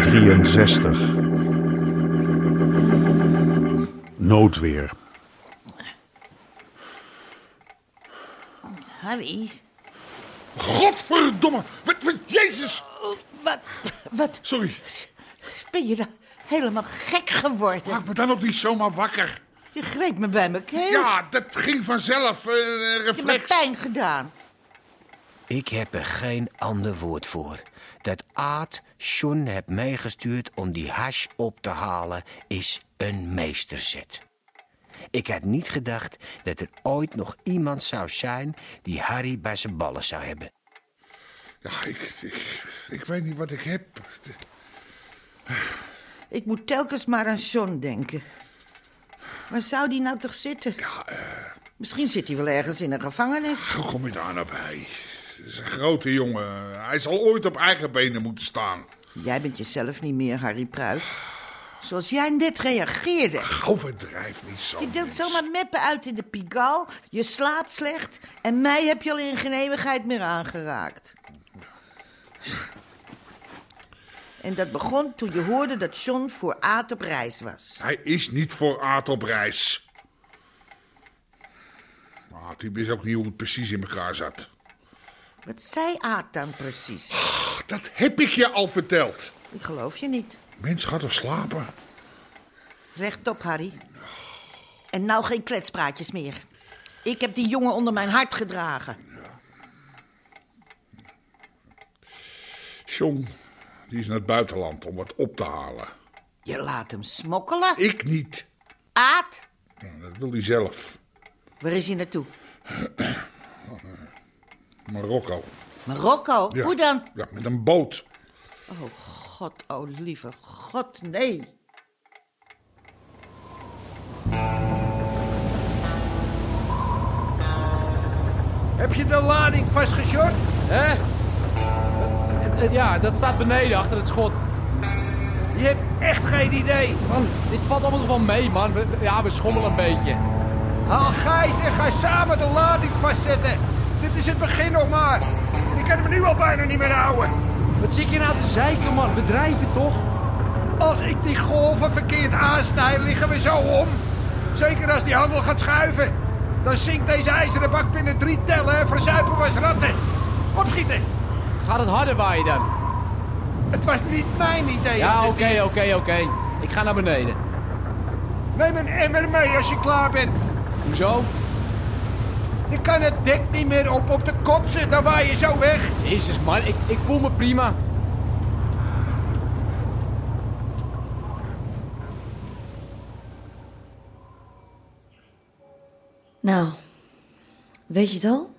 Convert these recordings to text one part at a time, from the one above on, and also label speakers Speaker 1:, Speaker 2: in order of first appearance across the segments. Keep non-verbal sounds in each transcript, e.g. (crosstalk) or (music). Speaker 1: Deel 63. Noodweer.
Speaker 2: Harry?
Speaker 3: Godverdomme! Wat, wat, Jezus!
Speaker 2: Oh, wat, wat
Speaker 3: Sorry,
Speaker 2: ben je nou helemaal gek geworden?
Speaker 3: maak me dan ook niet zomaar wakker.
Speaker 2: Je greep me bij mijn keel.
Speaker 3: Ja, dat ging vanzelf. eh, een
Speaker 2: je hebt me
Speaker 3: reflex.
Speaker 2: pijn gedaan.
Speaker 4: Ik heb er geen ander woord voor. Dat Aad Sjoen hebt meegestuurd om die hash op te halen is een meesterzet. Ik had niet gedacht dat er ooit nog iemand zou zijn die Harry bij zijn ballen zou hebben.
Speaker 3: Ja, ik, ik, ik weet niet wat ik heb.
Speaker 2: Ik moet telkens maar aan John denken. Waar zou die nou toch zitten?
Speaker 3: Ja, eh,
Speaker 2: Misschien zit hij wel ergens in een gevangenis.
Speaker 3: hoe kom je daar nou bij? Het is een grote jongen. Hij zal ooit op eigen benen moeten staan.
Speaker 2: Jij bent jezelf niet meer, Harry Pruis. Zoals jij net reageerde.
Speaker 3: Overdrijf niet zo.
Speaker 2: Je deelt
Speaker 3: mens.
Speaker 2: zomaar meppen uit in de pigal, je slaapt slecht en mij heb je al in geen eeuwigheid meer aangeraakt. En dat begon toen je hoorde dat John voor Aad op reis was.
Speaker 3: Hij is niet voor Aad op reis. Aad, die wist ook niet hoe het precies in elkaar zat.
Speaker 2: Wat zei Aad dan precies?
Speaker 3: Dat heb ik je al verteld.
Speaker 2: Ik geloof je niet.
Speaker 3: Mens, gaat toch slapen?
Speaker 2: Rechtop, Harry. En nou geen kletspraatjes meer. Ik heb die jongen onder mijn hart gedragen.
Speaker 3: John, die is naar het buitenland om wat op te halen.
Speaker 2: Je laat hem smokkelen.
Speaker 3: Ik niet.
Speaker 2: Aad,
Speaker 3: Nou, Dat wil hij zelf.
Speaker 2: waar is hij naartoe?
Speaker 3: Marokko.
Speaker 2: Marokko?
Speaker 3: Ja.
Speaker 2: Hoe dan?
Speaker 3: Ja, met een boot.
Speaker 2: Oh god, oh lieve god, nee.
Speaker 5: Heb je de lading vastgeshort?
Speaker 6: Hè? Eh, eh, Ja, dat staat beneden achter het schot.
Speaker 5: Je hebt echt geen idee.
Speaker 6: Man, dit valt allemaal nog wel mee, man. We- we- ja, we schommelen een beetje.
Speaker 5: Haal Gijs en ga samen de lading vastzetten. Dit is het begin nog maar. Ik kan me nu al bijna niet meer houden.
Speaker 6: Wat zit je nou te zeiken, man? We drijven toch?
Speaker 5: Als ik die golven verkeerd aansnij, liggen we zo om. Zeker als die handel gaat schuiven. Dan zinkt deze ijzeren bak binnen drie tellen en verzuipen was ratten. Opschieten.
Speaker 6: Gaat het harder waaien dan?
Speaker 5: Het was niet mijn idee.
Speaker 6: Ja,
Speaker 5: om
Speaker 6: oké,
Speaker 5: dit te
Speaker 6: oké, oké. Ik ga naar beneden.
Speaker 5: doen. Neem een emmer mee als je klaar bent.
Speaker 6: Hoezo?
Speaker 5: Je kan het dek niet meer op op de kop zitten, dan waai je zo weg.
Speaker 6: Jezus, man. Ik, ik voel me prima.
Speaker 7: Nou, weet je het al?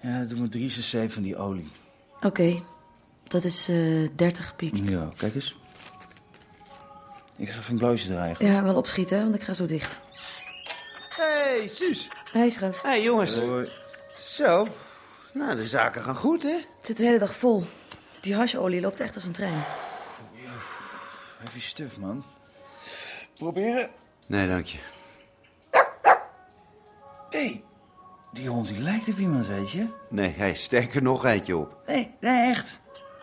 Speaker 8: Ja, doe maar 3cc van die olie.
Speaker 7: Oké, dat is eh 30 piek.
Speaker 8: Ja, kijk eens. Ik ga even een blootje draaien.
Speaker 7: Ja, wel opschieten, hè, want ik ga zo dicht.
Speaker 9: Hey, Suus.
Speaker 7: Hij gaat.
Speaker 9: Hey, jongens. Zo. Nou, de zaken gaan goed, hè?
Speaker 7: Het zit de hele dag vol. Die hasholie loopt echt als een trein.
Speaker 8: Heavy stuff, man.
Speaker 9: Nee, dank je.
Speaker 8: Hé, hey, die hond die lijkt op iemand, weet je?
Speaker 9: Nee, hey, steek er nog eentje op.
Speaker 8: Nee, nee, echt.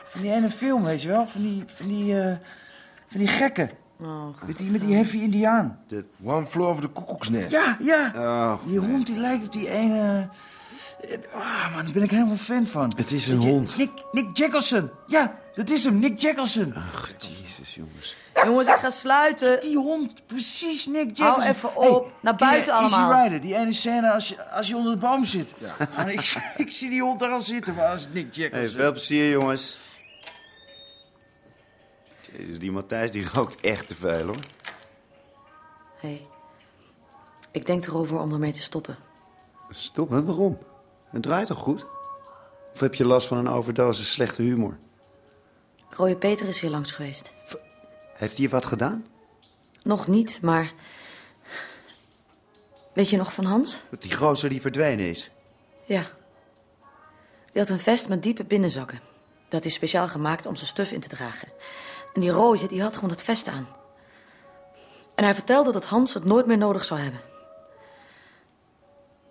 Speaker 8: Van die ene film, weet je wel? Van die, van die, eh, van die gekken. met, die, met die heavy indiaan.
Speaker 9: Dit-
Speaker 8: One floor over de koekoeksnest. Ja, ja.
Speaker 9: Oh,
Speaker 8: die hond die lijkt op die ene... eh, Ah, man, daar ben ik helemaal fan van.
Speaker 9: Het is een
Speaker 8: Weet je,
Speaker 9: hond.
Speaker 8: Nick, Nick Jackelson. Ja, dat is hem, Nick Jackelson.
Speaker 9: Ach, jezus, jongens.
Speaker 7: Jongens, ik ga sluiten.
Speaker 8: Die hond, precies Nick
Speaker 7: Hou
Speaker 8: Jackson.
Speaker 7: even op. Naar buiten
Speaker 8: ken je
Speaker 7: allemaal.
Speaker 8: Easy Rider, die ene scène als je, als je onder de boom zit. (laughs) Maar ik, ik zie die hond daar al zitten, maar als Nick Jackson.
Speaker 9: Hey, veel plezier, jongens. Jezus, die Matthijs die rookt echt te veel, hoor.
Speaker 7: Hé, hey, Ik denk erover om ermee te stoppen.
Speaker 9: Stoppen? Waarom? Het draait toch goed? Of heb je last van een overdosis slechte humor?
Speaker 7: Rooie Peter is hier langs geweest.
Speaker 9: Heeft hij je wat gedaan?
Speaker 7: Nog niet, maar... Weet je nog van Hans?
Speaker 9: Dat die gozer die verdwenen is.
Speaker 7: Ja. Die had een vest met diepe binnenzakken. Dat is speciaal gemaakt om zijn stuf in te dragen. En die rooie, die had gewoon dat vest aan. En hij vertelde dat Hans het nooit meer nodig zou hebben.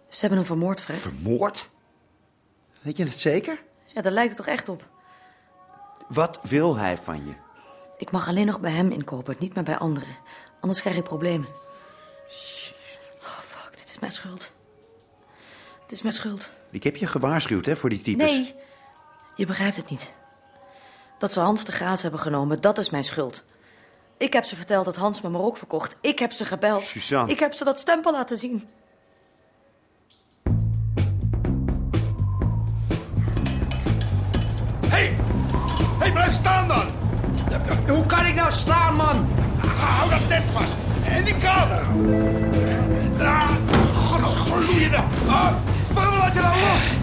Speaker 7: Ze hebben hem vermoord, Fred.
Speaker 9: Vermoord? Weet je het zeker?
Speaker 7: Ja, daar lijkt het toch echt op.
Speaker 9: Wat wil hij van je?
Speaker 7: Ik mag alleen nog bij hem inkopen, niet meer bij anderen. Anders krijg ik problemen. Oh, fuck, dit is mijn schuld. Dit is mijn schuld.
Speaker 9: Ik heb je gewaarschuwd hè, voor die types.
Speaker 7: Nee, je begrijpt het niet. Dat ze Hans de Graas hebben genomen, dat is mijn schuld. Ik heb ze verteld dat Hans me maar ook verkocht. Ik heb ze gebeld.
Speaker 9: Suzanne.
Speaker 7: Ik heb ze dat stempel laten zien.
Speaker 5: hey! hey, blijf staan dan!
Speaker 6: Hoe kan ik nou slaan, man?
Speaker 5: Hou dat net vast. En die kabel. Ah, godsgloeiende. Ah, waarom laat je nou los?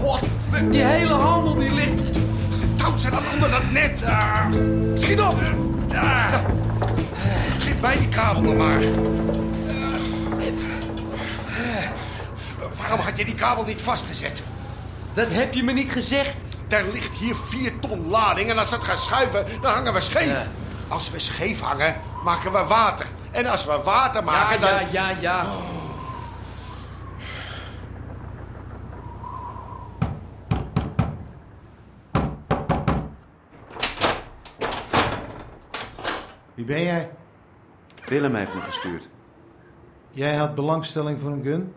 Speaker 6: Godfuck, die hele handel die ligt...
Speaker 5: Touw ze dan Oh, onder dat net. Ah, schiet op. Ah, geef mij die kabel dan maar. Ah, waarom had je die kabel niet vastgezet?
Speaker 6: Dat heb je me niet gezegd.
Speaker 5: Er ligt hier vier ton lading en als dat gaat schuiven, dan hangen we scheef.
Speaker 6: Ja.
Speaker 5: Als we scheef hangen, maken we water. En als we water
Speaker 6: Ja,
Speaker 5: maken, dan...
Speaker 6: ja, ja, ja.
Speaker 10: Wie ben jij?
Speaker 9: Willem heeft me gestuurd.
Speaker 10: Jij had belangstelling voor een gun?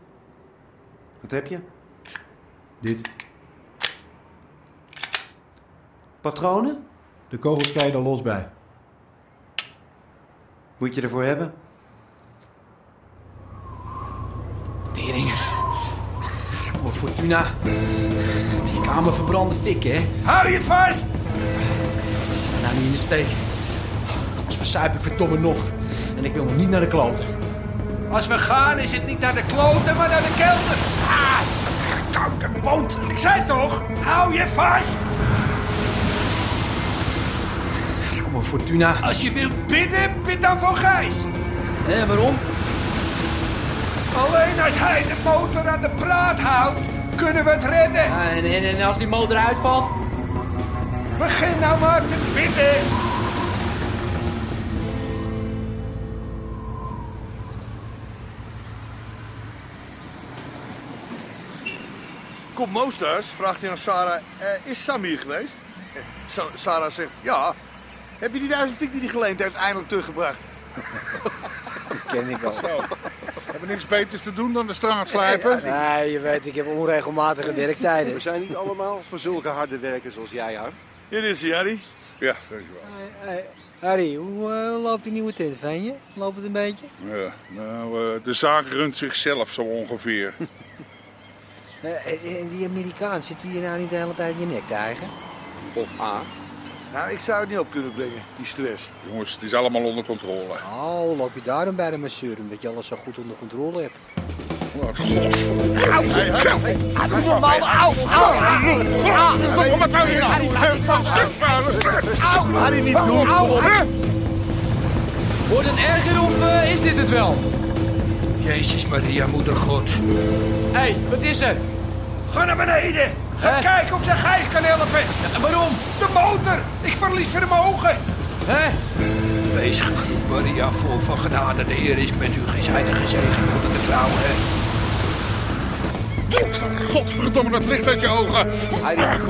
Speaker 9: Wat heb je?
Speaker 10: Dit.
Speaker 9: Patronen?
Speaker 10: De kogels krijg je er los bij.
Speaker 9: Moet je ervoor hebben?
Speaker 6: Tering. Voor Fortuna. Die kamer verbrandde fik, hè?
Speaker 5: Hou je vast!
Speaker 6: Maar nou niet in de steek. Oh, Als verzuip ik verdomme nog. En ik wil nog niet naar de kloten.
Speaker 5: Als we gaan is het niet naar de kloten, maar naar de kelder. Ah, kankerboot. Ik zei toch, hou je vast.
Speaker 6: Voor Fortuna.
Speaker 5: Als je wilt bidden, bid dan voor Gijs.
Speaker 6: Hé, waarom?
Speaker 5: Alleen als hij de motor aan de praat houdt, kunnen we het redden.
Speaker 6: Ja, en, en, en als die motor uitvalt?
Speaker 5: Begin nou maar te bidden.
Speaker 3: Komt Moos thuis? Vraagt hij aan Sarah. eh, is Sam hier geweest? Eh, Sa- Sarah zegt ja. Heb je die duizend piek die hij geleend heeft eindelijk teruggebracht?
Speaker 9: Ken ik al.
Speaker 3: Hebben niks beters te doen dan de straat slijpen?
Speaker 9: Nee, je weet, ik heb onregelmatige werktijden.
Speaker 11: zijn niet allemaal van zulke harde werkers als jij, hoor.
Speaker 3: Hier is hij, Harry. Ja, dankjewel.
Speaker 11: Harry, hoe loopt die nieuwe tent van je? Loopt het een beetje?
Speaker 3: Ja, nou, eh, de zaak runt zichzelf zo ongeveer. (laughs)
Speaker 11: Eh, die Amerikaan zit hier nou niet de hele tijd in je nek te eigen? Of aard.
Speaker 10: Nou, ik zou het niet op kunnen brengen, die stress.
Speaker 3: Jongens, het is allemaal onder controle.
Speaker 11: Oh, loop je daarom bij de masseur omdat je alles zo goed onder controle hebt?
Speaker 6: Wordt het erger of eh, is dit het wel?
Speaker 5: Jezus Maria, moeder God.
Speaker 6: Hé, hey, wat is er?
Speaker 5: Ga naar beneden. Ga
Speaker 6: Eh?
Speaker 5: kijken of ze Gijs kan helpen.
Speaker 6: Eh, waarom?
Speaker 5: De motor. Ik verlies vermogen.
Speaker 6: Hè?
Speaker 5: Wees gegroet, Maria, vol van genade. De Heer is met u. Gij zijt de gezegend onder de vrouwen.
Speaker 3: Godverdomme, dat licht uit je ogen.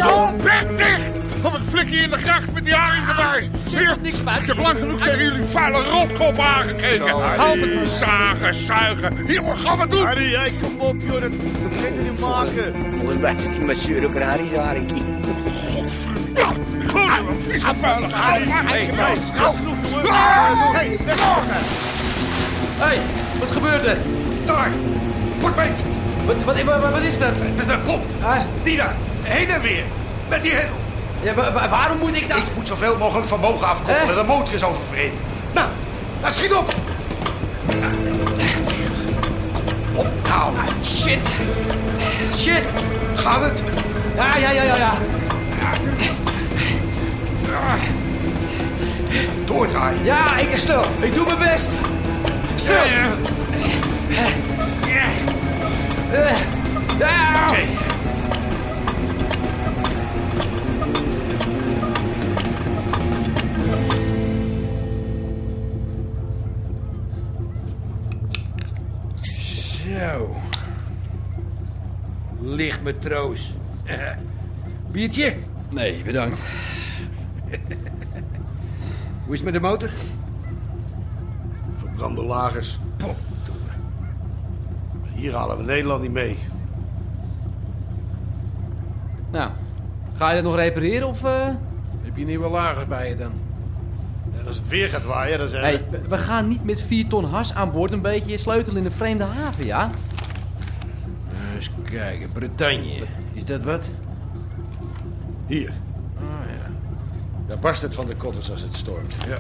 Speaker 3: Kom, bek dicht! Wat een flikje in de gracht met die haring erbij. Hier, niks bij. Ik heb lang genoeg tegen jullie vuile rotkoppen aangekeken. Altijd maar zagen, zuigen. Hier, wat gaan we doen? Harry, jij kom op, joh. Dat gaat er maken.
Speaker 9: Volgens mij is die masseur ook een Harry de Harinkie.
Speaker 3: Godverdomme, een vieze vuile Harry. Hey, hey, hey,
Speaker 6: Hé, hey, wat gebeurt er?
Speaker 5: Daar. Pak mee.
Speaker 6: Wat, wat, wat, wat is dat?
Speaker 5: Dat is een pomp.
Speaker 6: Hè?
Speaker 5: Die daar. Heen en weer. Met die hendel.
Speaker 6: Ja, wa- wa- waarom moet ik nou...
Speaker 5: Ik moet zoveel mogelijk vermogen afkoppelen.
Speaker 6: Hè?
Speaker 5: De motor is oververhit. Nou, nou schiet op.
Speaker 6: Kom op nou. Shit. Shit. Gaat het? Ja, ja, ja, ja, ja. Doordraaien. Ja, ik stil. Ik doe mijn best. Stil. Eh, ja.
Speaker 5: Zo. Licht matroos. Eh, Biertje?
Speaker 6: Nee, bedankt.
Speaker 5: (laughs) Hoe is het met de motor?
Speaker 12: Verbrande lagers. Hier halen we Nederland niet mee.
Speaker 6: Nou, ga je dat nog repareren of... eh?
Speaker 12: Heb je nieuwe lagers bij je dan? Ja, als het weer gaat waaien, dan zijn
Speaker 6: Hey, we- we gaan niet met 4 ton hars aan boord een beetje sleutelen in een vreemde haven, ja?
Speaker 12: we... Eens kijken, Bretagne. Is dat wat? Hier. Oh ja. Daar barst het van de kotters als het stormt. Ja.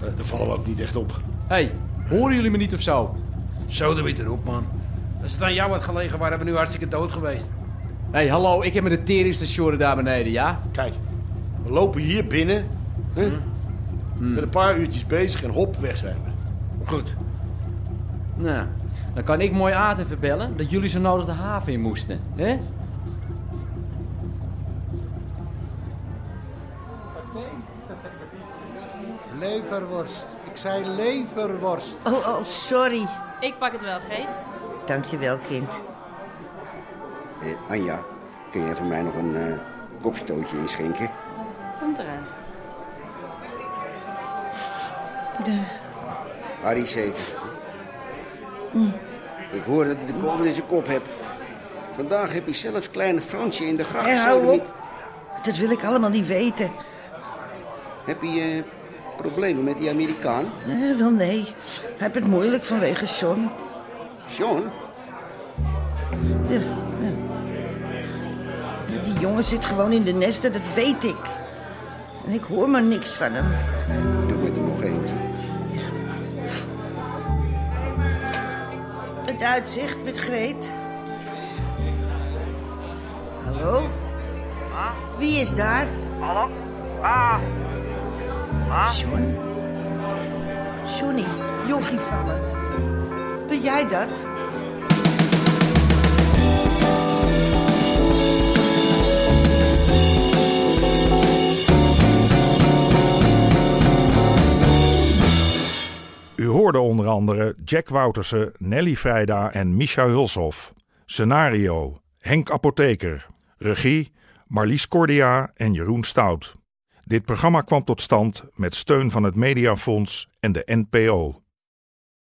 Speaker 12: Daar, daar vallen we ook niet echt op.
Speaker 6: hey, horen jullie me niet of zo?
Speaker 5: Zo de witte erop, man. Als het aan jou had gelegen, waren we nu hartstikke dood geweest.
Speaker 6: Hé, hey, hallo, ik heb met de teringstation daar beneden, ja?
Speaker 12: Kijk, we lopen hier binnen. Hè?
Speaker 3: Hm.
Speaker 12: Met een paar uurtjes bezig en hop, weg zijn we.
Speaker 5: Goed.
Speaker 6: Nou, dan kan ik mooi Aad even bellen dat jullie zo nodig de haven in moesten, hè?
Speaker 11: Leverworst. Ik zei leverworst.
Speaker 2: Oh, oh, sorry.
Speaker 13: Ik pak het wel, Geet.
Speaker 2: Dankjewel, kind.
Speaker 14: Eh, Anja, kun jij voor mij nog een eh, kopstootje inschenken?
Speaker 13: Komt eraan.
Speaker 14: Harry zeker. Ik hoor dat hij de kolder in zijn kop hebt. Vandaag heb hij zelfs kleine Fransje in de gracht.
Speaker 2: Hé, hou
Speaker 14: gesodemiet.
Speaker 2: Dat wil ik allemaal niet weten.
Speaker 14: Heb je eh, problemen met die Amerikaan?
Speaker 2: Eh, wel nee. Hij heeft het moeilijk vanwege John.
Speaker 14: John?
Speaker 2: Ja, ja. Ja, Die jongen zit gewoon in de nesten, dat weet ik. En ik hoor maar niks van hem.
Speaker 14: Doe me er nog eentje.
Speaker 2: Het uitzicht met Greet. Hallo? Wie is daar? Ah. Hallo? Ah. John? Johnny, jochie vallen. Ben jij dat?
Speaker 1: U hoorde onder andere Jack Woutersen, Nelly Vrijda en Misha Hulshof. Scenario: Henk Apotheker. Regie: Marlies Cordia en Jeroen Stout. Dit programma kwam tot stand met steun van het Mediafonds en de NPO.